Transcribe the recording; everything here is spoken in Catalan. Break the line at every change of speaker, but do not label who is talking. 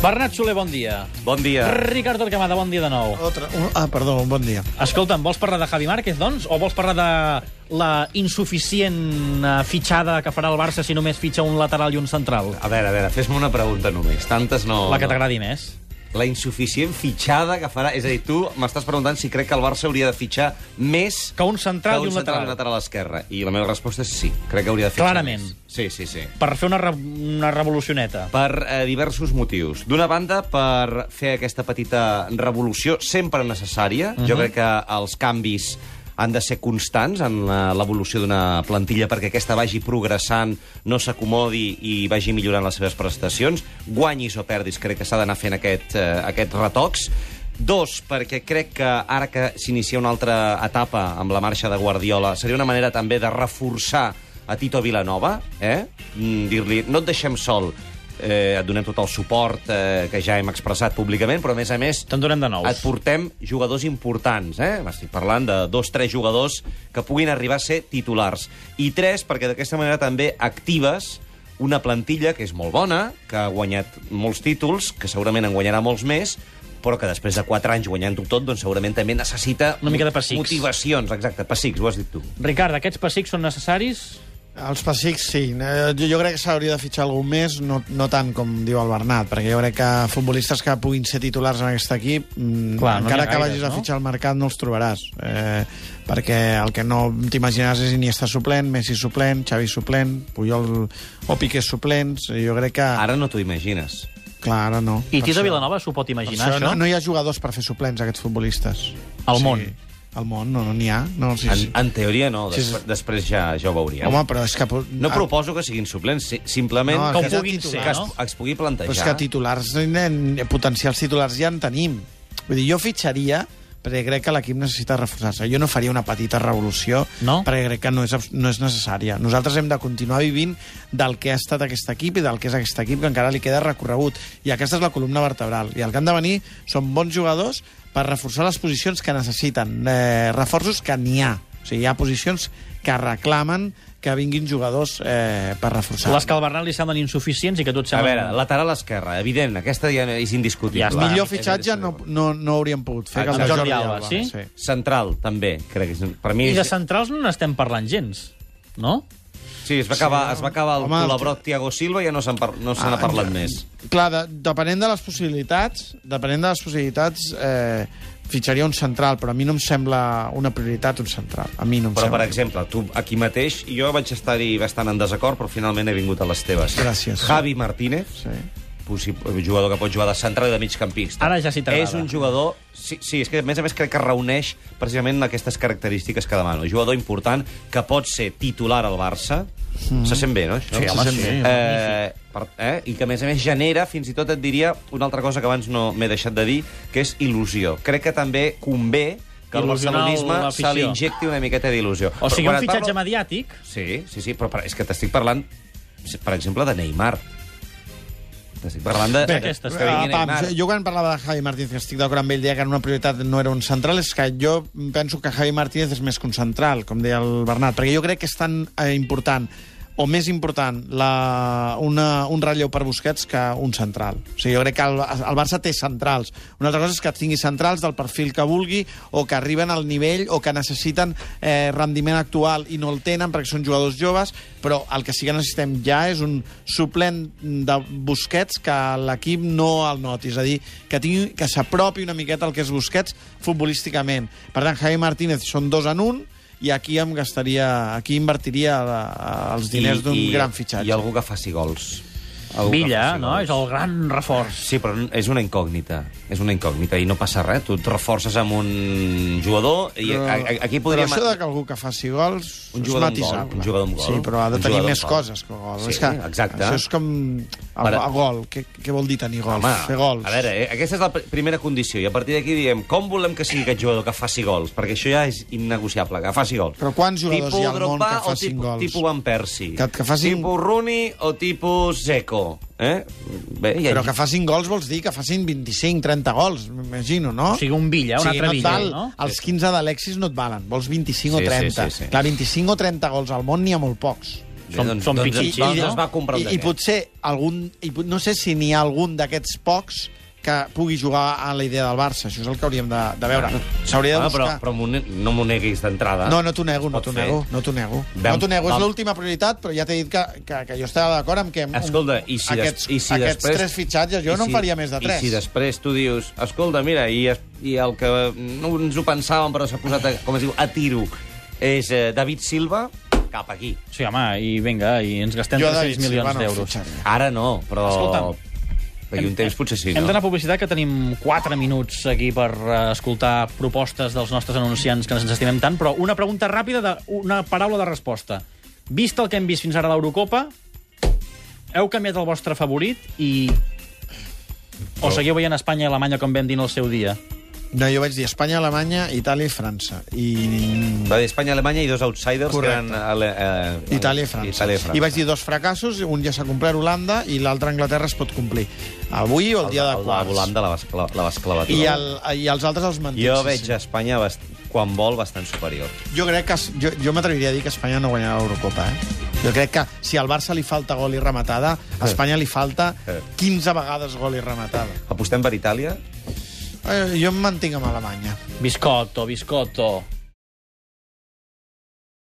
Bernat Soler, bon dia.
Bon dia.
Ricardo Arcamada, bon dia de nou.
Otra. un- Ah, perdó, bon dia.
Escolta'm, vols parlar de Javi Márquez, doncs? O vols parlar de la insuficient eh, fitxada que farà el Barça si només fitxa un lateral i un central?
A veure, a veure, fes-me una pregunta només. Tantes no...
La que
no.
t'agradi més.
La insuficient fitxada que farà... És a dir, tu m'estàs preguntant si crec que el Barça hauria de fitxar més...
Que un central
que
i un lateral.
i un lateral esquerre. I la meva resposta és sí. Crec que hauria de fitxar
Clarament.
Més. Sí, sí, sí.
Per fer una, re una revolucioneta.
Per eh, diversos motius. D'una banda, per fer aquesta petita revolució sempre necessària. Jo crec que els canvis han de ser constants en la- l'evolució d'una plantilla perquè aquesta vagi progressant, no s'acomodi i vagi millorant les seves prestacions. Guanyis o perdis, crec que s'ha d'anar fent aquest, eh, aquests retocs. Dos, perquè crec que ara que s'inicia una altra etapa amb la marxa de Guardiola, seria una manera també de reforçar a Tito Vilanova, eh? Mm, dir-li, no et deixem sol, eh, et donem tot el suport eh, que ja hem expressat públicament, però a més a més...
Te'n donem de nous.
Et portem jugadors importants, eh? Estic parlant de dos, tres jugadors que puguin arribar a ser titulars. I tres, perquè d'aquesta manera també actives una plantilla que és molt bona, que ha guanyat molts títols, que segurament en guanyarà molts més, però que després de 4 anys guanyant-ho tot, doncs segurament també necessita...
Una mica de pessics.
Motivacions, exacte, pessics, ho has dit tu.
Ricard, aquests pessics són necessaris?
Els pessics, sí. Eh, Jo, jo crec que s'hauria de fitxar algun més, no, no tant com diu el Bernat, perquè jo crec que futbolistes que puguin ser titulars en aquest equip, mm,
Clar, no n'hi
encara
ha
que
gaires,
vagis
no?
a fitxar al mercat no els trobaràs, eh, perquè el que no t'imaginaràs és Iniesta suplent, Messi suplent, Xavi suplent, Puyol o Piqué suplents, jo crec que...
Ah.
Ara no t'ho imagines.
Clar, ara no.
I
Per
Tito
això-
Vilanova s'ho pot
per
imaginar,
això,
això?
No, no hi ha jugadors per fer suplents, aquests futbolistes.
Al
O sigui,
món.
Al món, no no n'hi ha. No, sí,
En,
sí.
en teoria no,
Sí, sí.
després, després ja, ja ho veuríem.
Home, però és que... po-
No
a-
proposo que siguin suplents, si- simplement
No,
que, es-
que puguin
que
ser,
es,
no?
es pugui
Però
plantejar.
és que titulars, nen, potencials titulars ja en tenim. Vull dir, jo fitxaria perquè crec que l'equip necessita reforçar-se. Jo no faria una petita revolució
No?
perquè crec que no és, abs- no és necessària. Nosaltres hem de continuar vivint del que ha estat aquest equip i del que és aquest equip, que encara li queda recorregut. I aquesta és la columna vertebral. I el que han de venir són bons jugadors per reforçar les posicions que necessiten, eh, reforços que n'hi ha. O sigui, hi ha posicions que reclamen que vinguin jugadors eh, per reforçar.
Les que al Bernat li semblen insuficients i que tu et
A
semblen...
veure, lateral esquerra, evident, aquesta ja és indiscutible.
Ja està.
Millor fitxatge no, no, no hauríem pogut fer que el de
Jordi
Jordi
Alba,
Alba.
sí?
Central, també, crec que és... Per mi...
I de
És,
centrals no n'estem parlant gens, no?
sí, es va acabar, es va acabar el
Home,
col·labrot Tiago Silva i ja no se par... no se n'ha parlat més.
Ah, Clar, de, depenent de les possibilitats, depenent de les possibilitats, eh, fitxaria un central, però a mi no em sembla una prioritat un central. A mi no em
Però, per
sembla.
exemple, tu aquí mateix, jo vaig estar-hi bastant en desacord, però finalment he vingut a les teves.
Gràcies.
Javi Martínez,
Sí.
possible, jugador que pot jugar de central i de migcampista.
Ara ja sí t'agrada.
És un jugador... Sí, sí, és que a més a més crec que reuneix precisament aquestes característiques que demano. Jugador important que pot ser titular al Barça. Mm. Se sent bé, no? Això?
Sí, home, Se sent sí. bé,
Eh, per, eh? I que a més a més genera, fins i tot et diria, una altra cosa que abans no m'he deixat de dir, que és il·lusió. Crec que també convé que el
Il·lusionar
barcelonisme
l'afició.
se li injecti una miqueta d'il·lusió.
O
Però
sigui,
quan
un
et
fitxatge mediàtic...
Sí, sí, sí, però per- és que t'estic parlant, per exemple, de Neymar. T'estic parlant de...
Bé,
de-
aquestes,
que
Ah,
vingui
pam,
Neymar.
jo quan parlava de Javi Martínez, que estic d'acord amb ell, deia que una prioritat no era un central, és que jo penso que Javi Martínez és més que un central, com deia el Bernat, perquè jo crec que és tan eh, important o més important la, una, un relleu per Busquets que un central. O sigui, jo crec que el, el Barça té centrals. Una altra cosa és que tingui centrals del perfil que vulgui o que arriben al nivell o que necessiten eh, rendiment actual i no el tenen perquè són jugadors joves, però el que sí que necessitem ja és un suplent de Busquets que l'equip no el noti. És a dir, que, tingui, que s'apropi una miqueta al que és Busquets futbolísticament. Per tant, Javi Martínez són dos en un, i aquí em gastaria, aquí invertiria eh, els diners
I-
d'un
i-
gran fitxatge.
I algú que faci gols. Algú que
Villa,
faci
no?
gols.
És el gran reforç.
Sí, però és una incògnita. És una incògnita i no passa res. Tu et reforces amb un jugador i a, a, aquí podríem...
Però això de que algú que faci gols
Un
és
jugador amb
matisable.
gol, un jugador amb gol.
Sí, però ha de
Un
tenir
jugador
més
amb gol.
coses que gol.
Sí,
és que
exacte.
Això és com el,
Per-
el gol. Què, què vol dir tenir gols?
Home,
Fer gols.
a veure, eh, aquesta és la pr- primera condició i a partir d'aquí diem com volem que sigui aquest jugador que faci gols, perquè això ja és innegociable, que faci gols.
Però quants jugadors
tipus
hi ha al món
Drogba
que facin
o tipus,
gols?
Tipus Van Persie.
Que- que facin-
Tipus Rooney o tipus Zeko. Eh? Bé, ja...
Però que facin gols vols dir que facin 25, 30 gols, m'imagino, no?
O sigui, un Villa, un altre
no et
Villa,
val,
no?
Els 15 d'Alexis no et valen, vols 25
Sí,
o
sí,
30.
sí, sí.
Clar, 25 o 30 gols al món n'hi ha molt pocs.
Som,
doncs-
som
doncs-
pitxitxis,
doncs
no?
es va comprar el
i,
DT.
i potser algun... I, pot- no sé si n'hi ha algun d'aquests pocs que pugui jugar a la idea del Barça. Això és el que hauríem de, de veure. S'hauria de
Ah,
buscar...
però, però m'ho ne- no m'ho neguis d'entrada.
No, no t'ho nego,
Es
no
pot
t'ho
fer.
nego, no t'ho nego.
Vam-
no t'ho nego,
vam-
és l'última prioritat, però ja t'he dit que, que, que jo estava d'acord amb que... amb
Escolta, i si, des-
aquests,
i si
aquests
després...
tres fitxatges, jo
i
no en faria més de tres.
I si després tu dius, escolta, mira, i, es- i el que no ens ho pensàvem, però s'ha posat, a, com es diu, a tiro, és eh, David Silva, cap aquí.
Sí, home, i vinga, i ens gastem
Jo,
300 milions
Silva, no
d'euros.
fitxaria.
Ara no, però...
Escolta'm,
D'aquí un temps potser sí,
Hem
no?
d'anar a publicitat, que tenim 4 minuts aquí per eh, escoltar propostes dels nostres anunciants que ens estimem tant, però una pregunta ràpida d'una paraula de resposta. Vist el que hem vist fins ara a l'Eurocopa, heu canviat el vostre favorit i... O seguiu veient Espanya i Alemanya com vam dir en el seu dia?
No, jo vaig dir Espanya, Alemanya, Itàlia i França. I...
Va dir Espanya-Alemanya i dos outsiders
Correcte.
que eren... Ale, eh,
Itàlia i França.
Itàlia i França.
I vaig dir dos fracassos, un ja s'ha complert Holanda i l'altre Anglaterra es pot complir. Avui o el, dia de
el,
quarts.
El volant de la, vas- la, la vasclavat.
I, el, I els altres els mantinc.
Jo
sí,
veig
sí.
Espanya, bast... quan vol, bastant superior.
Jo crec que... es- Jo, jo m'atreviria a dir que Espanya no guanyarà l'Eurocopa, eh? Jo crec que si al Barça li falta gol i rematada, a Espanya li falta
Eh.
15 vegades gol i rematada.
Apostem per Itàlia?
Eh, Jo em mantinc amb Alemanya.
Biscotto, biscotto.